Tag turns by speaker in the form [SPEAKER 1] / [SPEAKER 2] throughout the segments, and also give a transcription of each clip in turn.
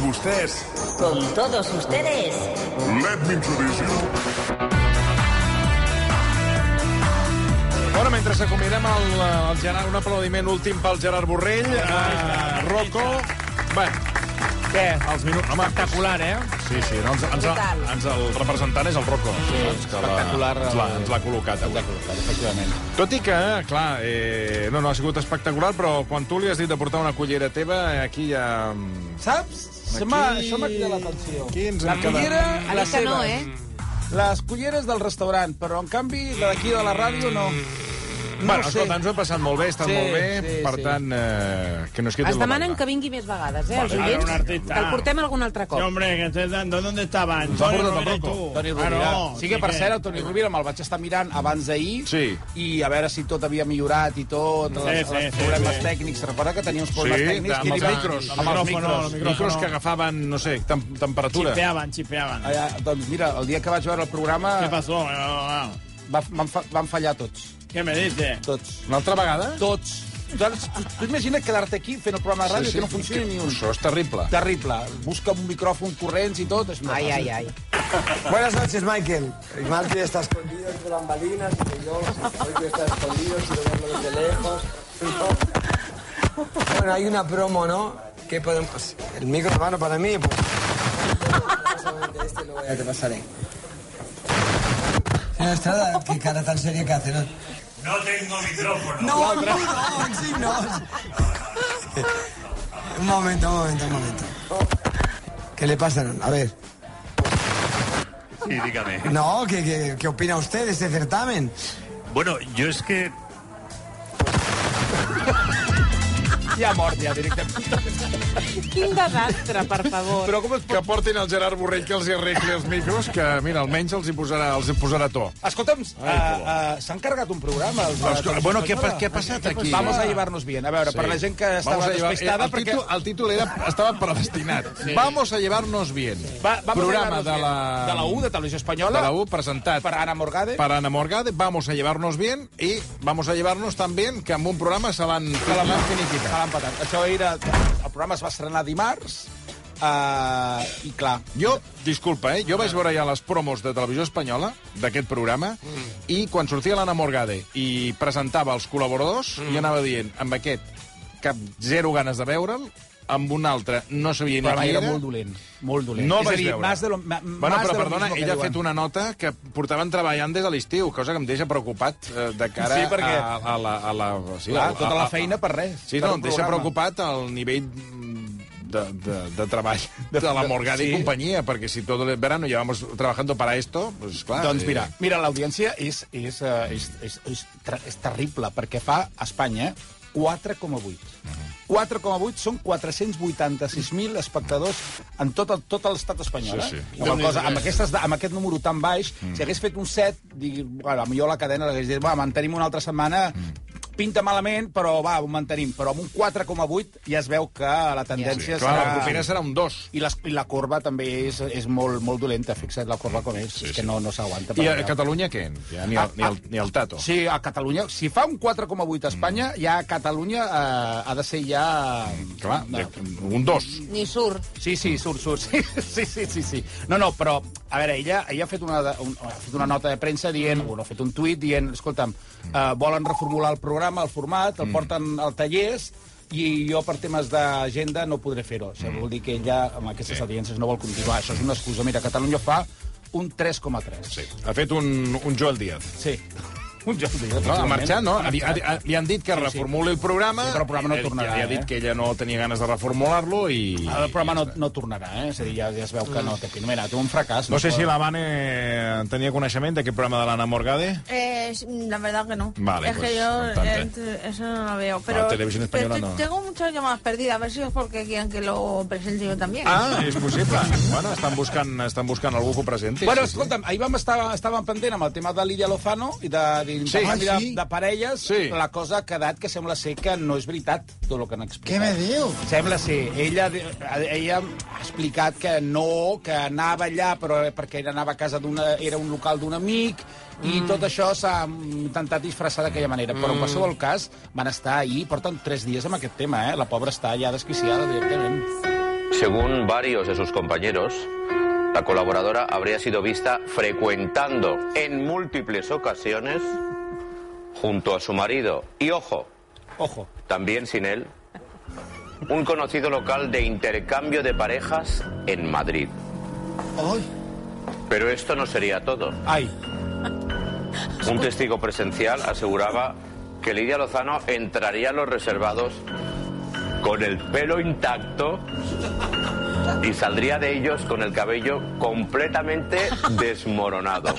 [SPEAKER 1] vostès.
[SPEAKER 2] Con todos ustedes.
[SPEAKER 1] Let me introduce you.
[SPEAKER 3] Bueno, mentre s'acomiadem el, eh, el Gerard, un aplaudiment últim pel Gerard Borrell, a Rocco... Bé,
[SPEAKER 4] Què?
[SPEAKER 3] els minuts... Home,
[SPEAKER 4] Espectacular, eh?
[SPEAKER 3] Sí, sí, no, ens, ens,
[SPEAKER 2] Brutal.
[SPEAKER 3] ens, el representant és el Rocco. Sí,
[SPEAKER 4] espectacular,
[SPEAKER 3] Ens l'ha ens l'ha col·locat. avui.
[SPEAKER 4] Efectivament.
[SPEAKER 3] Tot i que, clar, eh, no, no, ha sigut espectacular, però quan tu li has dit de portar una cullera teva, eh, aquí ja... mm,
[SPEAKER 5] Saps? Se m'ha- Això m'ha cridat l'atenció.
[SPEAKER 3] Aquí ens
[SPEAKER 5] La
[SPEAKER 3] hem
[SPEAKER 5] cullera,
[SPEAKER 3] quedat...
[SPEAKER 6] Ha
[SPEAKER 5] la
[SPEAKER 6] dit que
[SPEAKER 5] seva.
[SPEAKER 6] no, eh?
[SPEAKER 5] Les culleres del restaurant, però en canvi la d'aquí de la ràdio no. No
[SPEAKER 3] bueno,
[SPEAKER 5] ho sé.
[SPEAKER 3] escolta, ens ho hem passat molt bé, està
[SPEAKER 5] Sí,
[SPEAKER 3] molt bé,
[SPEAKER 5] sí,
[SPEAKER 3] per
[SPEAKER 5] sí.
[SPEAKER 3] tant, eh, que no es quedi
[SPEAKER 6] Es
[SPEAKER 3] la
[SPEAKER 6] demanen
[SPEAKER 3] banda.
[SPEAKER 6] que vingui més vegades, eh, els
[SPEAKER 3] Vale.
[SPEAKER 4] Ara, un
[SPEAKER 6] oients.
[SPEAKER 4] artista.
[SPEAKER 6] Que el portem algun altre
[SPEAKER 4] Sí,
[SPEAKER 6] cop.
[SPEAKER 4] hombre, que te dando, ¿dónde estaba?
[SPEAKER 3] ha
[SPEAKER 4] Antonio
[SPEAKER 3] portat el
[SPEAKER 4] Rovira,
[SPEAKER 3] Rocco.
[SPEAKER 4] tu.
[SPEAKER 5] Toni Rovira.
[SPEAKER 4] Ah, no,
[SPEAKER 5] sí que, per cert, el Toni Rovira me'l vaig estar mirant abans d'ahir
[SPEAKER 3] Sí.
[SPEAKER 5] i a veure si tot havia millorat i tot,
[SPEAKER 4] Sí,
[SPEAKER 5] els,
[SPEAKER 4] sí,
[SPEAKER 5] els
[SPEAKER 4] sí,
[SPEAKER 5] problemes
[SPEAKER 4] sí.
[SPEAKER 5] tècnics. Recorda que tenia uns
[SPEAKER 3] Sí,
[SPEAKER 5] problemes tècnics.
[SPEAKER 3] amb
[SPEAKER 5] i li
[SPEAKER 3] els
[SPEAKER 5] vaig-
[SPEAKER 3] micros.
[SPEAKER 4] Amb els micròfono, el
[SPEAKER 3] micros,
[SPEAKER 4] micròfono.
[SPEAKER 3] micros que agafaven, no sé, tem temperatura.
[SPEAKER 4] Chipeaban, chipeaban.
[SPEAKER 5] Allà, doncs mira, el dia que vaig veure el programa
[SPEAKER 4] ¿Qué pasó? No, no, no.
[SPEAKER 5] va, van, fa- van fallar tots.
[SPEAKER 4] ¿Qué me dices?
[SPEAKER 5] Tots.
[SPEAKER 3] Una altra vegada?
[SPEAKER 5] Tots. Doncs, tu- tu imagina't quedar-te aquí fent el programa de ràdio que no funcioni ni un.
[SPEAKER 3] Això és terrible.
[SPEAKER 5] Terrible. Busca un micròfon corrents i tot. És una
[SPEAKER 6] Ai,
[SPEAKER 5] cosa.
[SPEAKER 6] ai, ai.
[SPEAKER 7] Buenas noches, Michael. Malti está escondido entre bambalinas y yo hoy que está escondido, quiero verlo desde lejos. Bueno, hay una promo, ¿no? ¿Qué podemos...? El micro en mano para mí, pues... Este lo voy a... Te pasaré. Señor Estrada, qué cara tan seria que hace, ¿no?
[SPEAKER 8] No tengo micrófono.
[SPEAKER 7] No, no, sí, no. Un momento, un momento, un momento. ¿Qué le pasa? A ver.
[SPEAKER 8] Sí, dígame.
[SPEAKER 7] No, ¿qué, qué, qué opina usted de este certamen?
[SPEAKER 8] Bueno, yo es que
[SPEAKER 5] Ja mort, ja, directament.
[SPEAKER 6] Quin desastre, per favor.
[SPEAKER 3] Però com es pot... Que portin el Gerard Borrell que els hi arregli els micros, que, mira, almenys els hi posarà, els hi posarà to.
[SPEAKER 5] Escolta'm, uh, uh, s'han cargat un programa. Els,
[SPEAKER 3] Escolta, bueno, què ha pas- què ha passat aquí?
[SPEAKER 5] Doncs Vamos a llevarnos bien. A veure, sí. per la gent que estava
[SPEAKER 3] Vamos a llevar- eh,
[SPEAKER 5] despistada...
[SPEAKER 3] el, títol, el títol era, estava predestinat. Sí. Vamos a llevar-nos bien.
[SPEAKER 5] Va, vamos
[SPEAKER 3] Programa
[SPEAKER 5] a llevarnos
[SPEAKER 3] de la...
[SPEAKER 5] bien. de la U, de Televisió Espanyola,
[SPEAKER 3] de la U, presentat
[SPEAKER 5] per Ana Morgade.
[SPEAKER 3] per Ana Morgade. Vamos a llevar-nos bien i vamos a llevar-nos tan bien que amb un programa se l'han
[SPEAKER 5] Se l'han
[SPEAKER 3] finiquitat.
[SPEAKER 5] se l'han patat. Això era... El programa es va estrenar dimarts, uh, i clar...
[SPEAKER 3] Jo, disculpa, eh? jo vaig veure ja les promos de Televisió Espanyola d'aquest programa i quan sortia l'Anna Morgade i presentava els col·laboradors, jo anava dient, amb aquest cap zero ganes de veure'l, amb un altre no sabia ni
[SPEAKER 5] Però
[SPEAKER 3] qui
[SPEAKER 5] era
[SPEAKER 3] era.
[SPEAKER 5] molt dolent, molt dolent.
[SPEAKER 3] No el
[SPEAKER 5] És a
[SPEAKER 3] vaig
[SPEAKER 5] dir,
[SPEAKER 3] veure.
[SPEAKER 5] Mas de lo, ma,
[SPEAKER 3] bueno, però
[SPEAKER 5] más de lo
[SPEAKER 3] perdona,
[SPEAKER 5] mismo que
[SPEAKER 3] ella ha
[SPEAKER 5] diuen.
[SPEAKER 3] fet una nota que portaven treballant des de l'estiu, cosa que em deixa preocupat eh, de cara
[SPEAKER 5] Sí, perquè-
[SPEAKER 3] a, a, la, a la... Sí,
[SPEAKER 5] Clar,
[SPEAKER 3] a-
[SPEAKER 5] tota
[SPEAKER 3] a-
[SPEAKER 5] la
[SPEAKER 3] a-
[SPEAKER 5] feina per res.
[SPEAKER 3] ah, Sí,
[SPEAKER 5] per
[SPEAKER 3] no,
[SPEAKER 5] un
[SPEAKER 3] em deixa
[SPEAKER 5] programa.
[SPEAKER 3] preocupat el nivell de, de, de treball de, la Morgada sí.
[SPEAKER 5] sí.
[SPEAKER 3] i companyia, perquè si todo el verano llevamos trabajando para esto, pues clar...
[SPEAKER 5] Doncs
[SPEAKER 3] eh,
[SPEAKER 5] mira, mira l'audiència és, és, eh, és, és, és, ter- és terrible, perquè fa a Espanya 4,8.
[SPEAKER 3] Mhm.
[SPEAKER 5] 4,8 són 486.000 espectadors en tot el- tot l'estat espanyol.
[SPEAKER 3] Sí, Mm.
[SPEAKER 5] eh?
[SPEAKER 3] sí.
[SPEAKER 5] Amb, la cosa, amb, aquestes, amb aquest número tan baix, si hagués fet un 7, digui, bueno, millor la cadena l'hagués dit, va, mantenim una altra setmana,
[SPEAKER 3] Mm.
[SPEAKER 5] pinta malament, però va, ho mantenim. Però amb un 4,8 ja es veu que la tendència
[SPEAKER 3] clar, la propera serà un 2.
[SPEAKER 5] i, les, I la corba també és, és molt, molt dolenta, fixa't la corba com és, sí, és que no, no s'aguanta. per
[SPEAKER 3] I a
[SPEAKER 5] allà.
[SPEAKER 3] Catalunya què? Ja, ni, el, ni, el, ni el Tato.
[SPEAKER 5] Sí, a Catalunya, si fa un 4,8 a Espanya,
[SPEAKER 3] Mm.
[SPEAKER 5] ja a Catalunya eh, ha de ser ja... eh,
[SPEAKER 3] Clar,
[SPEAKER 5] No.
[SPEAKER 3] ja, un 2.
[SPEAKER 6] Ni surt.
[SPEAKER 5] Sí, sí, surt, surt. Sí, sí, sí, sí, sí. No, no, però, a veure, ella, ella ha, fet una, de- un, ha fet una nota de premsa dient, o no, ha fet un tuit dient, escolta'm, eh, volen reformular el programa, el format,
[SPEAKER 3] Mm.
[SPEAKER 5] el porten al tallers, i jo per temes d'agenda no podré fer-ho. Això
[SPEAKER 3] Mm.
[SPEAKER 5] vol dir que ella amb aquestes audiències no vol continuar. Això és una excusa. Mira, Catalunya fa un 3,3.
[SPEAKER 3] Sí. Ha fet un, un Joel Díaz.
[SPEAKER 5] Sí. Un joc de
[SPEAKER 3] No, ha marxat, no? Ha, ha, ha, li han dit que
[SPEAKER 5] Sí, sí.
[SPEAKER 3] reformuli el programa.
[SPEAKER 5] Sí, però el programa no
[SPEAKER 3] i li-
[SPEAKER 5] tornarà,
[SPEAKER 3] Li ha dit
[SPEAKER 5] eh? Ah,
[SPEAKER 3] que ella no tenia ganes de reformular-lo i...
[SPEAKER 5] El programa no, no tornarà, eh? És a dir, ja, ja es veu que no té pin. Mira, té un fracàs.
[SPEAKER 3] No sé si la Vane tenia coneixement d'aquest programa de l'Anna Morgade.
[SPEAKER 9] Eh, la verdad que no.
[SPEAKER 3] Vale,
[SPEAKER 9] es
[SPEAKER 3] pues,
[SPEAKER 9] que yo
[SPEAKER 3] bastante.
[SPEAKER 9] eh, eso no lo veo. Pero,
[SPEAKER 3] televisión española
[SPEAKER 9] pero te-
[SPEAKER 3] no.
[SPEAKER 9] tengo muchas llamadas perdidas, a ver si es porque quieren que lo presente yo también.
[SPEAKER 3] Ah, és possible. bueno, estan buscant, estan buscant algú que ho presenti.
[SPEAKER 5] Bueno,
[SPEAKER 3] sí, sí.
[SPEAKER 5] escolta'm, ahir vam estar, estàvem pendent amb el tema de Lidia Lozano i de, de,
[SPEAKER 3] Sí.
[SPEAKER 5] de, de,
[SPEAKER 3] Ah, sí?
[SPEAKER 5] de parelles.
[SPEAKER 3] Sí.
[SPEAKER 5] La cosa ha quedat que sembla ser que no és veritat tot el que han explicat.
[SPEAKER 7] Què me diu?
[SPEAKER 5] Sembla ser. Ella, ella ha explicat que no, que anava allà però perquè era, anava a casa d'una... Era un local d'un amic i
[SPEAKER 3] Mm.
[SPEAKER 5] tot això s'ha intentat disfressar d'aquella manera. Però en qualsevol cas van estar ahir, porten tres dies amb aquest tema, eh? La pobra està ja desquiciada directament.
[SPEAKER 10] Según varios de sus compañeros, la colaboradora habría sido vista frecuentando en múltiples ocasiones junto a su marido y, ojo,
[SPEAKER 5] Ojo.
[SPEAKER 10] también sin él, un conocido local de intercambio de parejas en Madrid. Pero esto no sería todo.
[SPEAKER 5] Ai.
[SPEAKER 10] Un testigo presencial aseguraba que Lidia Lozano entraría a los reservados con el pelo intacto y saldría de ellos con el cabello completamente desmoronado.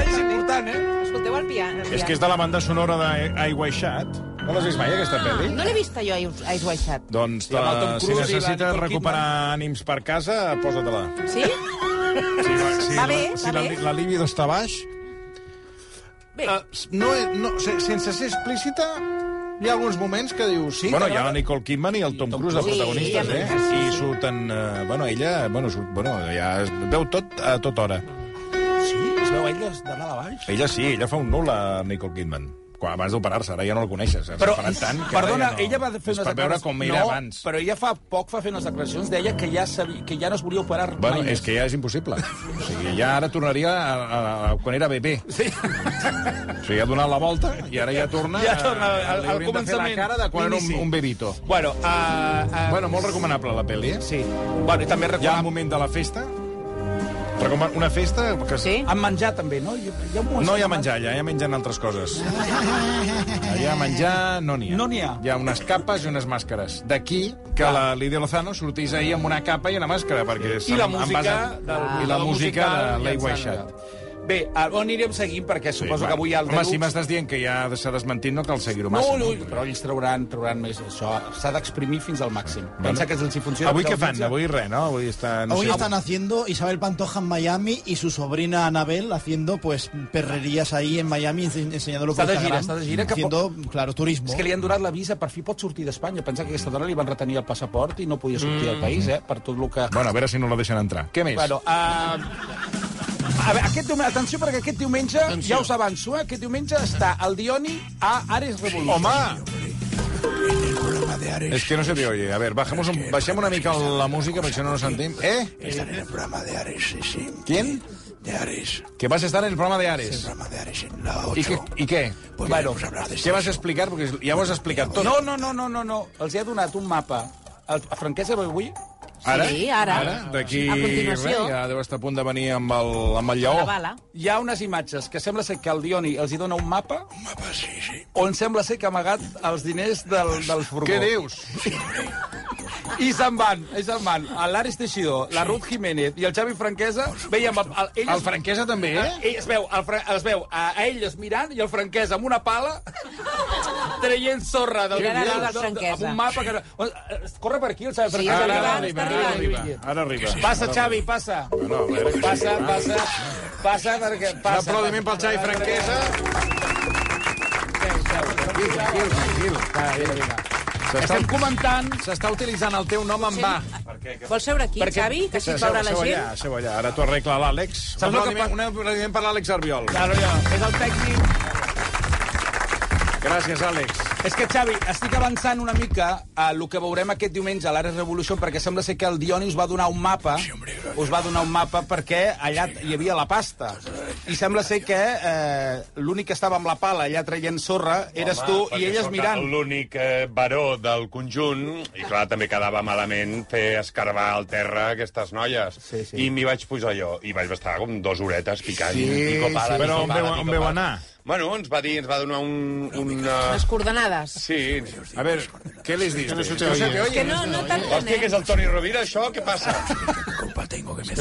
[SPEAKER 6] Piano,
[SPEAKER 5] És important, eh?
[SPEAKER 6] Escolteu el piano.
[SPEAKER 4] Es que es de la banda sonora d'Aigua i Xat.
[SPEAKER 3] No l'has vist mai, aquesta pel·li?
[SPEAKER 6] No l'he vist jo a Ice- Ice White Chat.
[SPEAKER 3] Doncs
[SPEAKER 5] I amb el Tom
[SPEAKER 3] eh, si
[SPEAKER 5] Cruise i la
[SPEAKER 3] necessites
[SPEAKER 5] Nicole
[SPEAKER 3] recuperar ànims per casa, posa-te-la.
[SPEAKER 6] Sí?
[SPEAKER 3] Si, la- si,
[SPEAKER 6] Va
[SPEAKER 3] la-
[SPEAKER 6] bé,
[SPEAKER 3] si
[SPEAKER 6] va
[SPEAKER 3] la,
[SPEAKER 6] bé.
[SPEAKER 3] la libido està baix...
[SPEAKER 6] Bé.
[SPEAKER 3] eh, no, he- no, se- sense ser explícita, hi ha alguns moments que dius... Sí,
[SPEAKER 5] Bueno,
[SPEAKER 3] que
[SPEAKER 5] hi ha
[SPEAKER 3] m'agrada.
[SPEAKER 5] la
[SPEAKER 3] Nicole Kidman i el Tom Cruise de
[SPEAKER 6] Cruise.
[SPEAKER 3] protagonistes,
[SPEAKER 6] Sí,
[SPEAKER 3] eh? I surten... Eh, bueno, ella... Bueno, surt, bueno, ja es veu tot a tota hora.
[SPEAKER 5] Sí, es veu ell des de dalt a baix.
[SPEAKER 3] Ella sí, ella fa un nul a Nicole Kidman. Quan abans d'operar-se, ara ja no el coneixes. Ens
[SPEAKER 5] Però,
[SPEAKER 3] operen tant que ara
[SPEAKER 5] perdona,
[SPEAKER 3] ja no...
[SPEAKER 5] ella va fer
[SPEAKER 3] És
[SPEAKER 5] unes
[SPEAKER 3] per veure com era
[SPEAKER 5] no,
[SPEAKER 3] abans.
[SPEAKER 5] però ella fa poc va fer unes declaracions, deia que ja, sabia, que ja no es volia operar
[SPEAKER 3] Bueno,
[SPEAKER 5] mai
[SPEAKER 3] és que ja és impossible. O sigui, ja ara tornaria a, a, a quan era bebè.
[SPEAKER 5] Sí.
[SPEAKER 3] O sigui, ha donat la volta i ara ja torna...
[SPEAKER 5] Ja torna al-
[SPEAKER 3] li
[SPEAKER 5] al
[SPEAKER 3] haurien de fer
[SPEAKER 5] començament,
[SPEAKER 3] la cara de quan era un,
[SPEAKER 5] l'inici.
[SPEAKER 3] un bebito.
[SPEAKER 5] Bueno, uh, uh,
[SPEAKER 3] Bueno, molt recomanable la pel·li, eh?
[SPEAKER 5] Sí. Bueno, i també
[SPEAKER 3] Hi ha el
[SPEAKER 5] recordem...
[SPEAKER 3] moment de la festa. Recoma una festa que...
[SPEAKER 6] Sí?
[SPEAKER 5] Han menjat, també, no? Jo, jo
[SPEAKER 3] No hi ha menjar allà, ja mengen altres coses. Allà menjar no n'hi ha.
[SPEAKER 5] No n'hi ha.
[SPEAKER 3] Hi ha unes capes i unes màscares. D'aquí que
[SPEAKER 5] Clar.
[SPEAKER 3] la Lidia Lozano sortís ahir amb una capa i una màscara, perquè...
[SPEAKER 5] I
[SPEAKER 3] se'm-
[SPEAKER 5] la
[SPEAKER 3] em
[SPEAKER 5] música...
[SPEAKER 3] basa-
[SPEAKER 5] Del,
[SPEAKER 3] I la música de Lei Waishat.
[SPEAKER 5] Bé, a- on anirem seguint? Perquè suposo
[SPEAKER 3] va.
[SPEAKER 5] que avui hi ha el
[SPEAKER 3] Home, si
[SPEAKER 5] Deluxe.
[SPEAKER 3] m'estàs dient que ja s'ha desmentit, no cal seguir-ho
[SPEAKER 5] No,
[SPEAKER 3] massa.
[SPEAKER 5] no, però ells trauran, trauran més això. S'ha d'exprimir fins al màxim. Pensa que els hi funciona.
[SPEAKER 3] Avui què
[SPEAKER 5] Els
[SPEAKER 3] fan?
[SPEAKER 5] hi-
[SPEAKER 3] Avui res, no? Avui estan...
[SPEAKER 11] Hoy
[SPEAKER 3] sí.
[SPEAKER 11] están haciendo Isabel Pantoja en Miami y su sobrina Anabel haciendo pues perrerías ahí en Miami ense- enseñándolo por
[SPEAKER 5] Está de gira,
[SPEAKER 11] Instagram.
[SPEAKER 5] está de gira, que
[SPEAKER 11] haciendo, claro, turismo.
[SPEAKER 5] És que li han donat la visa, per fi pot sortir d'Espanya. Pensa que aquesta dona li van retenir el passaport i no podia sortir del país, eh? Per tot el que...
[SPEAKER 3] Mm. Bueno, a veure si no la deixen entrar. Què més?
[SPEAKER 5] Bueno, uh... A veure, aquest diumenge, atenció, perquè aquest diumenge, atenció. ja us avanço, eh? aquest diumenge està el Dioni a Ares Revolution.
[SPEAKER 3] Home! Es que no se te oye. A ver, bajamos un, baixem una mica la música perquè si no no sentim. Eh?
[SPEAKER 7] Estar en el programa de Ares, sí, sí.
[SPEAKER 3] ¿Quién?
[SPEAKER 7] De Ares.
[SPEAKER 3] Que vas a estar en el programa de Ares.
[SPEAKER 7] programa de Ares en la
[SPEAKER 3] I què? I què?
[SPEAKER 7] Pues
[SPEAKER 5] Bueno,
[SPEAKER 7] vamos a hablar de
[SPEAKER 3] Què vas a explicar? Perquè ja ho has explicat tot.
[SPEAKER 5] No, no, no, no, no, no. Els hi ha donat un mapa. El, a Franquesa va avui?
[SPEAKER 3] Ara?
[SPEAKER 6] Sí, ara.
[SPEAKER 3] Ara? D'aquí...
[SPEAKER 6] A continuació.
[SPEAKER 3] res, Ja deu estar a punt de venir amb el, amb el lleó.
[SPEAKER 6] La bala.
[SPEAKER 5] Hi ha unes imatges que sembla ser que el Dioni els hi dona un mapa
[SPEAKER 7] mapa, sí, sí.
[SPEAKER 5] on sembla ser que ha amagat els diners del, del furgó.
[SPEAKER 3] Què dius?
[SPEAKER 5] I se'n van, i se'n van. L'Ares Teixidor, la Ruth Jiménez i el Xavi Franquesa, veiem... El, el, ell
[SPEAKER 3] El franquesa també, eh?
[SPEAKER 5] Eh? Es veu, el, Fra- es veu a, a ell es mirant i el franquès amb una pala traient sorra del,
[SPEAKER 6] Tirant a dalt
[SPEAKER 5] del-
[SPEAKER 6] del Franquesa.
[SPEAKER 5] amb un mapa que... no- Eh, Corre per aquí el Xavi
[SPEAKER 6] Sí,
[SPEAKER 5] Franquesa.
[SPEAKER 6] està
[SPEAKER 3] Ara,
[SPEAKER 5] Ara,
[SPEAKER 3] ara
[SPEAKER 6] arribant, està
[SPEAKER 3] arriba, ara arriba.
[SPEAKER 6] arribant.
[SPEAKER 3] Ara arriba.
[SPEAKER 5] Passa, Xavi, passa.
[SPEAKER 3] Bueno, a veure, que
[SPEAKER 5] Passa,
[SPEAKER 3] sí, va.
[SPEAKER 5] passa, passa, perquè...
[SPEAKER 3] Un
[SPEAKER 5] Passa,
[SPEAKER 3] aplaudiment pel Xavi Franquesa. Tranquil, tranquil, tranquil. S'està
[SPEAKER 5] Estem comentant...
[SPEAKER 3] S'està utilitzant el teu nom en va.
[SPEAKER 6] Vols seure aquí,
[SPEAKER 5] Perquè-
[SPEAKER 6] Xavi? Que així et veurà la
[SPEAKER 3] seu allà,
[SPEAKER 6] gent?
[SPEAKER 3] seu allà. Ara t'ho arregla l'Àlex. Un
[SPEAKER 5] Saps lo que
[SPEAKER 3] aplaudiment-
[SPEAKER 5] pa-
[SPEAKER 3] Un aplaudiment per l'Àlex Arbiol.
[SPEAKER 5] Claro, ja, és el tècnic...
[SPEAKER 3] Gràcies, Àlex.
[SPEAKER 5] És que, Xavi, estic avançant una mica a el que veurem aquest diumenge a l'Ares Revolution, perquè sembla ser que el Dioni us va donar un mapa, us va donar un mapa perquè allà hi havia la pasta. I sembla ser que eh, l'únic que estava amb la pala allà traient sorra eres tu i elles mirant.
[SPEAKER 8] L'únic eh, baró del conjunt, i clar, també quedava malament fer escarbar al terra aquestes noies.
[SPEAKER 5] Sí, sí.
[SPEAKER 8] I m'hi vaig posar jo, i vaig estar com dos horetes picant.
[SPEAKER 5] Sí,
[SPEAKER 8] pico pala,
[SPEAKER 5] sí.
[SPEAKER 8] pico
[SPEAKER 3] Però on
[SPEAKER 8] pala,
[SPEAKER 3] veu-
[SPEAKER 8] pico
[SPEAKER 3] on veu
[SPEAKER 8] pala.
[SPEAKER 3] anar?
[SPEAKER 8] Bueno, ens va dir, ens va donar un... un
[SPEAKER 6] Les coordenades.
[SPEAKER 8] sí,
[SPEAKER 3] A veure, què les diste? No se te
[SPEAKER 6] És que no, no
[SPEAKER 8] Hòstia, que és
[SPEAKER 6] t'entenem.
[SPEAKER 8] el Toni Rovira, això? Què passa?
[SPEAKER 7] Compa, tengo que me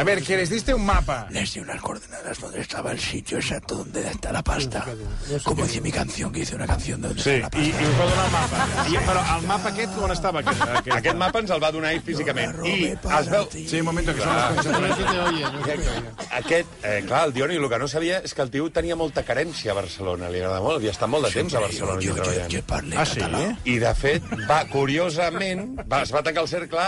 [SPEAKER 3] A ver, que les diste un mapa.
[SPEAKER 7] Les di unas coordenadas donde estaba el sitio exacto donde está la pasta. Como hice mi canción, que hice una canción donde
[SPEAKER 3] Sí,
[SPEAKER 7] está la
[SPEAKER 3] i,
[SPEAKER 7] pasta.
[SPEAKER 3] i us va donar el mapa. I, però el mapa aquest, on estava? Aquest, aquest?
[SPEAKER 8] Aquest mapa ens el va donar ell físicament. I es veu...
[SPEAKER 3] Sí, un moment, que són les
[SPEAKER 8] Aquest, eh, clar, el Dioni, el que no sabia és que el tio tenia molta carència a Barcelona. Li agrada molt, havia estat molt de temps a Barcelona aquí
[SPEAKER 7] Yo, yo,
[SPEAKER 8] treballant.
[SPEAKER 7] yo parlé
[SPEAKER 3] Ah, sí?
[SPEAKER 7] catalán.
[SPEAKER 8] I, de fet, va, curiosament, va, es va tancar el cercle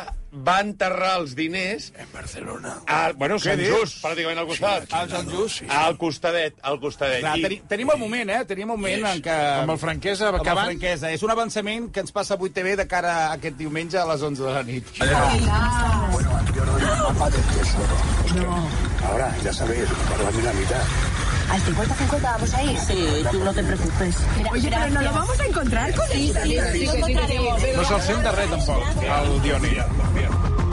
[SPEAKER 8] va enterrar els diners... En Barcelona. A, bueno,
[SPEAKER 5] Què
[SPEAKER 8] Sant
[SPEAKER 5] dius?
[SPEAKER 8] Just, pràcticament al costat.
[SPEAKER 5] Sí, al Sant Ah, Just.
[SPEAKER 8] Al costadet, al costadet.
[SPEAKER 5] Clar,
[SPEAKER 8] I-
[SPEAKER 5] teni tenim el moment, eh? Tenim el moment en què...
[SPEAKER 3] Amb el Franquesa,
[SPEAKER 5] Amb el
[SPEAKER 3] acabant.
[SPEAKER 5] franquesa. És un avançament que ens passa a 8 TV de cara a aquest diumenge a les 11 de la nit.
[SPEAKER 7] Bueno, anterior del mapa del tesoro. Ahora, ya sabéis, guardadme la mitad.
[SPEAKER 12] Al 50-50 vamos a ir. Sí, tú no te preocupes.
[SPEAKER 13] Oye, pero no lo vamos a encontrar con
[SPEAKER 12] Sí,
[SPEAKER 13] esto.
[SPEAKER 12] sí, sí, sí, sí, sí, sí, sí.
[SPEAKER 3] No se'l sent de res, tampoc, el Dioni.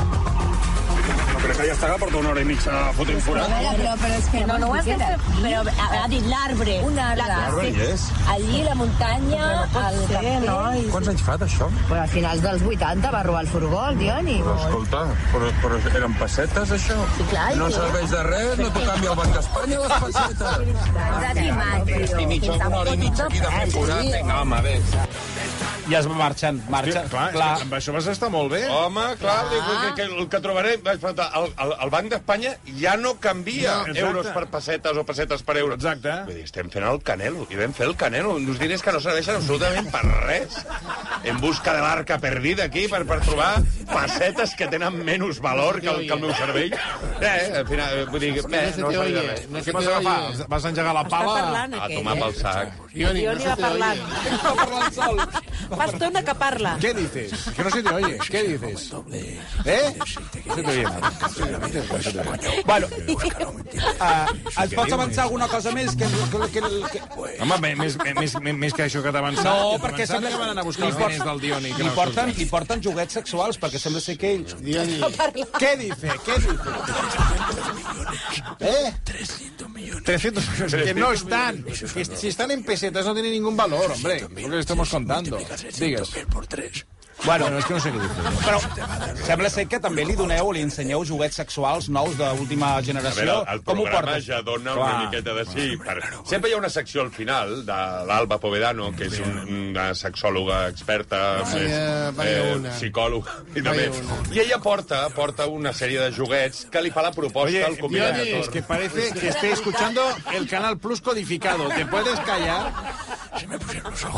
[SPEAKER 1] No crec que ja estarà porta una hora i mitja fotent
[SPEAKER 12] Pero,
[SPEAKER 1] forat.
[SPEAKER 12] pero, pero es que no, no vas a hacer. Pero a, a dir l'arbre. Un arbre.
[SPEAKER 1] L'arbre hi és.
[SPEAKER 12] Allí, la muntanya, al cafè. No?
[SPEAKER 14] Quants anys fa d'això?
[SPEAKER 12] Però a finals dels 80 va robar el furgó, el Dioni.
[SPEAKER 14] Però escolta, però, però eren pessetes, això?
[SPEAKER 12] Sí, clar,
[SPEAKER 14] no
[SPEAKER 12] sí.
[SPEAKER 14] serveix de res, no t'ho canvia el Banc d'Espanya, les pessetes.
[SPEAKER 12] I mitja, una hora i mitja aquí de fer forat.
[SPEAKER 3] eh?
[SPEAKER 14] Vinga, home, ves.
[SPEAKER 5] Ja es marxen, marxen.
[SPEAKER 8] Hòstia, clar, és que amb
[SPEAKER 3] això vas estar molt bé.
[SPEAKER 8] Home, clar,
[SPEAKER 5] Clar.
[SPEAKER 8] dic, que, que el que trobaré... Vaig preguntar, el, el, el Banc d'Espanya ja no canvia
[SPEAKER 3] No.
[SPEAKER 8] no,
[SPEAKER 3] Exacte.
[SPEAKER 8] euros per pessetes o pessetes per euros. Exacte. Vull dir, estem fent el canelo, i vam fer el canelo, uns diners que no serveixen absolutament per res. En busca de l'arca perdida aquí per, per trobar pessetes que tenen menys valor que el, que el meu cervell. Eh, al final, eh, vull dir, eh, no serveix de res.
[SPEAKER 3] Què vas agafar? Vas engegar la pala?
[SPEAKER 6] parlant,
[SPEAKER 8] A
[SPEAKER 6] aquell,
[SPEAKER 8] tomar
[SPEAKER 6] eh?
[SPEAKER 8] pel sac.
[SPEAKER 6] El Dioni va parlant. Va parlant sol. Fa estona que parla.
[SPEAKER 3] ¿Qué dices? Que no se te oye. ¿Qué dices? ¿Eh? No se te oye nada.
[SPEAKER 5] Bueno, uh, ens pots avançar alguna cosa més? Que, que, que, que...
[SPEAKER 3] Home, bé, més, més, més, més que això que t'ha avançat.
[SPEAKER 5] No, perquè
[SPEAKER 3] sembla
[SPEAKER 5] sembla
[SPEAKER 3] que van anar a buscar
[SPEAKER 5] li
[SPEAKER 3] els
[SPEAKER 5] porten-
[SPEAKER 3] diners del Dioni. que
[SPEAKER 5] Li
[SPEAKER 3] no
[SPEAKER 5] porten, li porten joguets sexuals, perquè sembla ser que ell... Dioni. Què dice? Què dice?
[SPEAKER 3] ¿Eh? 300 millones. Que no están. Que si están en pesetas no tienen ningún valor, hombre. Lo que estamos contando. Digas.
[SPEAKER 5] Bueno,
[SPEAKER 3] es que no sé qué dice.
[SPEAKER 5] Però sembla ser que també li doneu, li ensenyeu joguets sexuals nous d'última
[SPEAKER 8] A
[SPEAKER 5] generació.
[SPEAKER 8] veure, el, el
[SPEAKER 5] Com ho
[SPEAKER 8] programa
[SPEAKER 5] portes?
[SPEAKER 8] ja dona Clar. una miqueta de sí. Per... Sempre hi ha una secció al final de l'Alba Povedano, que és un, una sexòloga experta,
[SPEAKER 15] Sí,
[SPEAKER 8] més,
[SPEAKER 15] eh, va haver una.
[SPEAKER 8] psicòloga. I,
[SPEAKER 15] Va
[SPEAKER 8] també.
[SPEAKER 15] haver
[SPEAKER 8] I ella porta porta una sèrie de joguets que li fa la proposta
[SPEAKER 3] Oye,
[SPEAKER 8] al convidat.
[SPEAKER 3] Dioni, es que parece que esté escuchando el Canal Plus codificado. ¿Te puedes callar?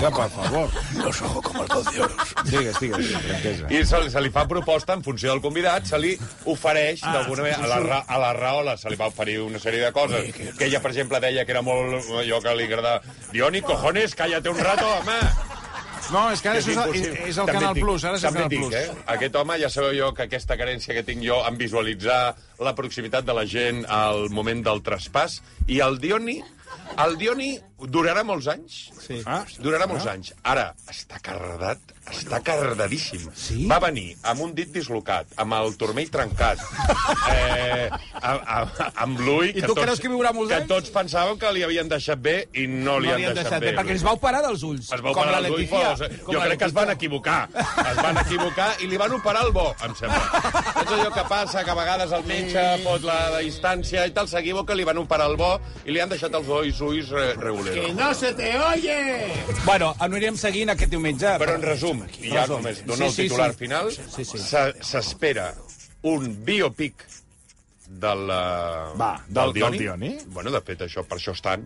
[SPEAKER 3] Ya, por favor. Los ojos como el dos de oros. Digues, digues, franquesa.
[SPEAKER 8] I se, li- se li fa proposta en funció del convidat, se li ofereix
[SPEAKER 15] Ah,
[SPEAKER 8] d'alguna manera, a la, ra- a la raola se li va oferir una sèrie de coses, que ella, per exemple, deia que era molt allò que li agradava. Dioni, cojones, cállate un rato, home!
[SPEAKER 3] No, és que ara això és, el- és, és el Canal Plus, ara és el Canal Plus.
[SPEAKER 8] Eh? Aquest home, ja sabeu jo que aquesta carència que tinc jo en visualitzar la proximitat de la gent al moment del traspàs, i el Dioni, el Dioni durarà molts anys. Sí. Ah, durarà molts anys. Ara, està cardat, està cardadíssim. Sí? Va venir amb un dit dislocat, amb el turmell trencat, eh, amb, amb, amb l'ull...
[SPEAKER 5] I tu creus que viurà molts
[SPEAKER 8] Que tots pensaven que li havien deixat bé i no, li, han deixat, bé.
[SPEAKER 5] perquè es va operar dels ulls.
[SPEAKER 8] Es va operar els ulls, però, eh, jo crec que es van equivocar. Es van equivocar i li van operar el bo, em sembla. És allò que passa, que a vegades el metge pot la, la distància i tal, s'equivoca, li van operar el bo i li han deixat els ulls, ulls re, reguleros.
[SPEAKER 15] ¡Que no se te oye!
[SPEAKER 5] Bueno, anirem seguint aquest diumenge.
[SPEAKER 8] Però en resum, i ja
[SPEAKER 5] Resum.
[SPEAKER 8] només donar el titular final,
[SPEAKER 5] Sí, sí.
[SPEAKER 8] se- s'espera un biopic de la...
[SPEAKER 4] Va, del- del Dioni.
[SPEAKER 8] Bueno, de fet, això, per això estan.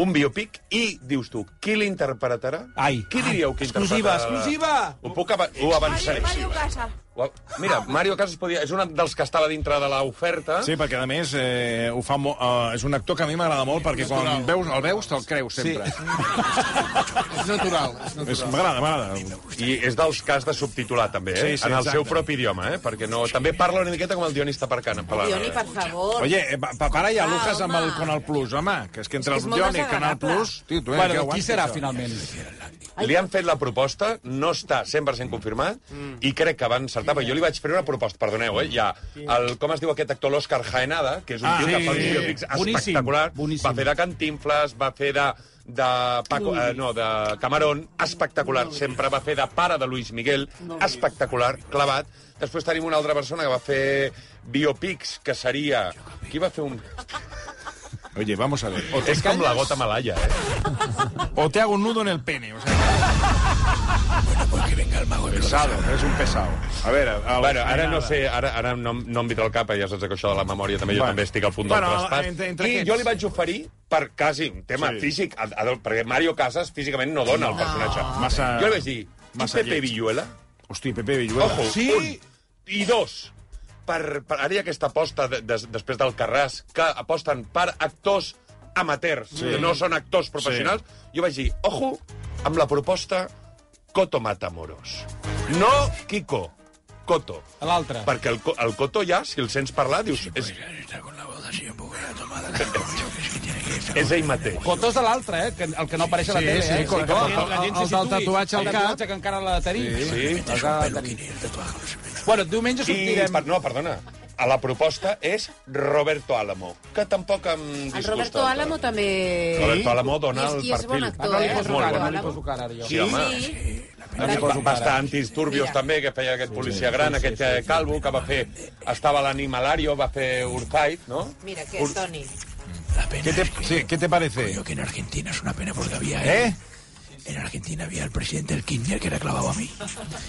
[SPEAKER 8] Un biopic i, dius tu, qui l'interpretarà? Ai, qui diríeu que
[SPEAKER 5] Exclusiva,
[SPEAKER 8] interpretarà?
[SPEAKER 5] exclusiva!
[SPEAKER 8] Ho puc ava ho avançaré.
[SPEAKER 9] Mario Casa.
[SPEAKER 8] Ho av- Mira, Mario Casas podia... és un dels que estava dintre de l'oferta.
[SPEAKER 3] Sí, perquè a més eh, ho fa mo eh, és un actor que a mi m'agrada molt perquè quan veus, el veus te'l creus sempre. Sí.
[SPEAKER 15] Es natural, es natural.
[SPEAKER 3] És- M'agrada, m'agrada.
[SPEAKER 8] I és dels cas de subtitular, també, eh?
[SPEAKER 3] Sí, sí,
[SPEAKER 8] en el
[SPEAKER 3] exacte.
[SPEAKER 8] seu propi idioma, eh? Perquè no... També parla una miqueta com el Dionista Parcana.
[SPEAKER 6] El Dioni, per favor.
[SPEAKER 3] Oye, eh, pa- pa- para ja,
[SPEAKER 6] Ah,
[SPEAKER 3] Lucas, amb
[SPEAKER 6] home.
[SPEAKER 3] el Canal Plus, home, que és que entre
[SPEAKER 6] És que
[SPEAKER 3] el
[SPEAKER 6] és molt
[SPEAKER 3] Dion i el Canal
[SPEAKER 6] desagradable.
[SPEAKER 3] Plus... Tio, tu, eh,
[SPEAKER 5] Bueno,
[SPEAKER 3] que
[SPEAKER 5] qui
[SPEAKER 3] aguantis,
[SPEAKER 5] serà,
[SPEAKER 3] això?
[SPEAKER 5] finalment?
[SPEAKER 8] Li han fet la proposta, no està 100% confirmat,
[SPEAKER 5] Mm.
[SPEAKER 8] i crec que va encertar, perquè jo li vaig fer una proposta, perdoneu, eh, ja. El, com es diu aquest actor, l'Òscar Jaenada, que és un
[SPEAKER 5] Ah,
[SPEAKER 8] tio
[SPEAKER 5] sí,
[SPEAKER 8] que fa uns
[SPEAKER 5] sí.
[SPEAKER 8] biopics
[SPEAKER 5] Boníssim,
[SPEAKER 8] espectaculars. Va fer de Cantinflas, va fer de de Paco, eh, no, de Camarón, espectacular, sempre va fer de pare de Luis Miguel, espectacular, clavat. Després tenim una altra persona que va fer biopics, que seria... Qui va fer un...
[SPEAKER 3] Oye, vamos a ver.
[SPEAKER 8] És com la gota malaya, eh?
[SPEAKER 3] O te hago un nudo en el pene, o sea... Bueno, porque venga el mago. Pesado, eres un pesado. A veure, el...
[SPEAKER 8] Bueno, ara no sé, ara, ara no, no em vindrà al cap, ja saps que això de la memòria també, jo
[SPEAKER 3] Bueno.
[SPEAKER 8] també estic al punt del
[SPEAKER 3] Bueno,
[SPEAKER 8] traspàs.
[SPEAKER 3] entre- entre
[SPEAKER 8] I
[SPEAKER 3] aquests.
[SPEAKER 8] jo li vaig oferir per quasi un tema
[SPEAKER 3] Sí.
[SPEAKER 8] físic, a, a, perquè Mario Casas físicament no dona el personatge.
[SPEAKER 3] Massa-
[SPEAKER 8] Jo li vaig dir, i
[SPEAKER 3] massa
[SPEAKER 8] Pepe
[SPEAKER 3] lleig.
[SPEAKER 8] Villuela?
[SPEAKER 3] Hosti, Pepe Villuela.
[SPEAKER 8] Ojo,
[SPEAKER 3] Sí?
[SPEAKER 8] un. I dos, per, per ara hi ha aquesta aposta de, des, després del Carràs que aposten per actors amateurs,
[SPEAKER 4] Sí.
[SPEAKER 8] que no són actors professionals. Jo vaig dir, ojo, amb la proposta Coto Matamoros. No Kiko, Coto.
[SPEAKER 5] L'altre.
[SPEAKER 8] Perquè el, co- el Coto ja, si el sents parlar, dius... És, és ell mateix.
[SPEAKER 5] Fotos de l'altre, eh? Que, el que no apareix a la
[SPEAKER 8] Sí,
[SPEAKER 5] tele,
[SPEAKER 8] sí,
[SPEAKER 5] eh?
[SPEAKER 8] sí, com- com-
[SPEAKER 5] La gent se
[SPEAKER 3] el del
[SPEAKER 5] situï.
[SPEAKER 3] tatuatge al
[SPEAKER 5] El
[SPEAKER 3] cap.
[SPEAKER 5] tatuatge que encara l'ha de tenir.
[SPEAKER 8] Sí.
[SPEAKER 5] L'ha de tenir. Bueno, diumenge
[SPEAKER 8] sortirem... I, per, no, perdona, a la proposta és Roberto Álamo, que tampoc em disgusta.
[SPEAKER 6] El Roberto Álamo també...
[SPEAKER 8] eh? Roberto Álamo dona
[SPEAKER 6] I és,
[SPEAKER 8] el
[SPEAKER 6] i és bon
[SPEAKER 8] perfil.
[SPEAKER 6] actor,
[SPEAKER 8] Ah, no li
[SPEAKER 6] eh?
[SPEAKER 8] poso
[SPEAKER 6] Roberto
[SPEAKER 8] cara, no li
[SPEAKER 6] Álamo.
[SPEAKER 8] poso cara, ara, jo.
[SPEAKER 6] Sí,
[SPEAKER 8] Sí, home.
[SPEAKER 6] sí.
[SPEAKER 8] Va, va estar antidisturbios també, que feia aquest policia gran, aquest eh, calvo, que va fer... Estava a l'Animalario, va fer Urzait, no?
[SPEAKER 6] Mira, que és Toni.
[SPEAKER 3] ¿Qué te, sí, ¿Qué te parece?
[SPEAKER 16] que en Argentina es una pena porque había
[SPEAKER 3] ¿Eh?
[SPEAKER 16] en Argentina había el presidente del Kirchner que era clavado a mí.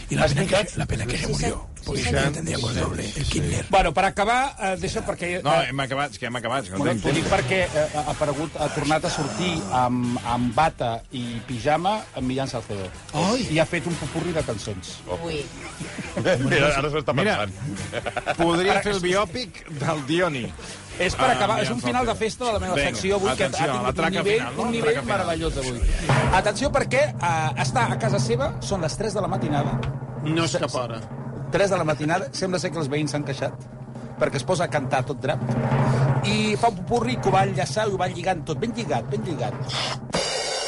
[SPEAKER 16] Y la pena que, la pena que se murió. Porque se la tendría por el doble, el Kirchner.
[SPEAKER 5] Bueno, per acabar, eh, deixa perquè...
[SPEAKER 3] No, hem acabat, és que hem acabat. Que no
[SPEAKER 5] Bueno,
[SPEAKER 3] tinc
[SPEAKER 5] t'ho dic
[SPEAKER 3] temps.
[SPEAKER 5] perquè eh, ha aparegut, ha tornat a sortir amb, amb bata i pijama amb Millán Salcedo. Ai. I ha fet un popurri de cançons.
[SPEAKER 6] Ui.
[SPEAKER 8] Mira, ara s'ho està
[SPEAKER 3] Mira,
[SPEAKER 8] pensant.
[SPEAKER 3] podria fer el biòpic del Dioni.
[SPEAKER 5] És
[SPEAKER 3] Ah,
[SPEAKER 5] per acabar, és un final de festa de la meva
[SPEAKER 3] Vinga,
[SPEAKER 5] secció avui, que ha
[SPEAKER 3] atenció,
[SPEAKER 5] tingut un
[SPEAKER 3] l'atraca
[SPEAKER 5] nivell,
[SPEAKER 3] final, no?
[SPEAKER 5] un
[SPEAKER 3] L'atraca
[SPEAKER 5] nivell
[SPEAKER 3] final.
[SPEAKER 5] meravellós avui. Atenció perquè eh, està a casa seva, són les 3 de la matinada. No és cap hora. 3 de la matinada, sembla ser que els veïns s'han queixat perquè es posa a cantar tot drap i fa un pupurri que ho va enllaçar i ho va lligant tot, ben lligat, ben lligat.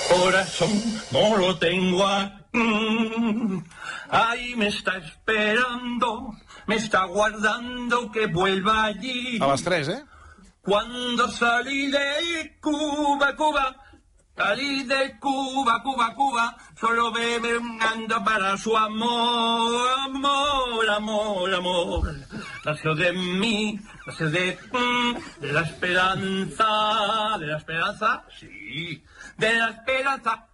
[SPEAKER 17] Corazón, no lo tengo a... mm, Ahí me está esperando, me está guardando que vuelva allí.
[SPEAKER 3] A les 3, eh?
[SPEAKER 17] Cuando salí de Cuba, Cuba, salí de Cuba, Cuba, Cuba, solo me anda para su amor, amor, amor, amor. Nació de mí, nació de, mm, de la esperanza, de la esperanza, sí, de la esperanza,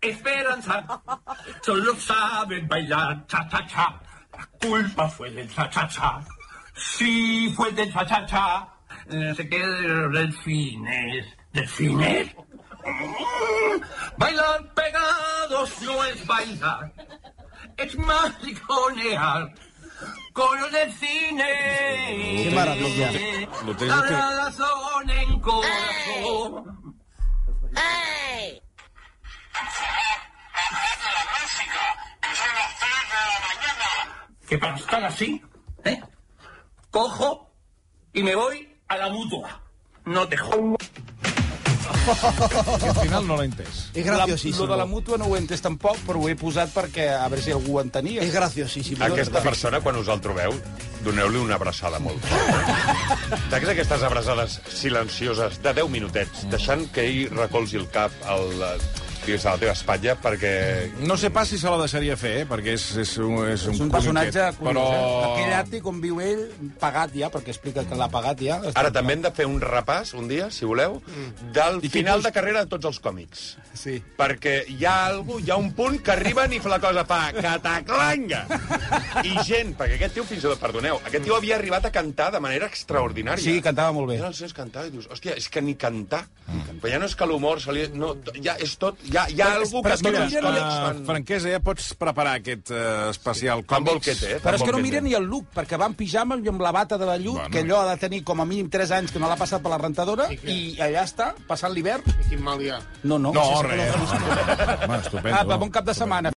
[SPEAKER 17] esperanza. Solo saben bailar cha-cha-cha, la culpa fue del cha-cha-cha, sí fue del cha-cha-cha. Eh, se quedan los delfines. ¿Delfines? Mm, Bailar pegados no es bailar, es mariconear. Con los delfines.
[SPEAKER 14] Qué maravilla.
[SPEAKER 3] Lo
[SPEAKER 14] tenés que-
[SPEAKER 17] Ahora son en corazón.
[SPEAKER 14] ¡Ey!
[SPEAKER 17] Que para estar así, ¿eh? Cojo y me voy a la mutua. No te jodas.
[SPEAKER 3] Al final no l'he entès.
[SPEAKER 5] És graciosíssim. Lo de la mútua no ho he entès tampoc, però ho he posat perquè a veure si algú ho entenia. És graciosíssim.
[SPEAKER 8] Aquesta persona, quan us el trobeu, doneu-li una abraçada molt forta. Saps aquestes abraçades silencioses de 10 minutets, deixant que ell recolzi el cap al, eh, digues, a la teva espatlla perquè...
[SPEAKER 3] No sé pas si se la deixaria fer, eh? perquè és, és un, és un,
[SPEAKER 5] un personatge
[SPEAKER 3] collonquet,
[SPEAKER 5] curiós, eh? Aquell
[SPEAKER 3] però...
[SPEAKER 5] àtic on viu ell, pagat ja, perquè explica que l'ha pagat ja.
[SPEAKER 8] Ara també hem de fer un repàs, un dia, si voleu,
[SPEAKER 5] Mm.
[SPEAKER 8] del final de carrera de tots els còmics.
[SPEAKER 5] Sí.
[SPEAKER 8] Perquè hi ha algú, hi ha un punt que arriben i fa la cosa fa cataclanga. I gent, perquè aquest tio, fins i tot, perdoneu, aquest tio havia arribat a cantar de manera extraordinària.
[SPEAKER 5] Sí, cantava molt bé.
[SPEAKER 8] Era els seus cantar i dius, hòstia, és que ni cantar. Mm. Però ja no és que l'humor se li... No, t- ja és tot... Ja, hi ha algú que...
[SPEAKER 3] Ah. Però és
[SPEAKER 8] tots
[SPEAKER 3] que
[SPEAKER 8] els
[SPEAKER 3] no mira,
[SPEAKER 8] còmics
[SPEAKER 3] uh, franquesa, ja pots preparar aquest uh, especial
[SPEAKER 8] Fan
[SPEAKER 3] còmics.
[SPEAKER 8] bolquete, eh?
[SPEAKER 5] Però és que no mira ni el look, perquè va en pijama i amb la bata de la llut, bueno. que allò ha de tenir com a mínim 3 anys que no l'ha passat per la rentadora, i, allà està, passant l'hivern.
[SPEAKER 15] Quin mal hi ha.
[SPEAKER 5] No, no.
[SPEAKER 3] No,
[SPEAKER 5] sí, sí,
[SPEAKER 3] res.
[SPEAKER 5] que
[SPEAKER 3] Home,
[SPEAKER 5] Ah,
[SPEAKER 3] estupendo.
[SPEAKER 5] va, bon cap de setmana.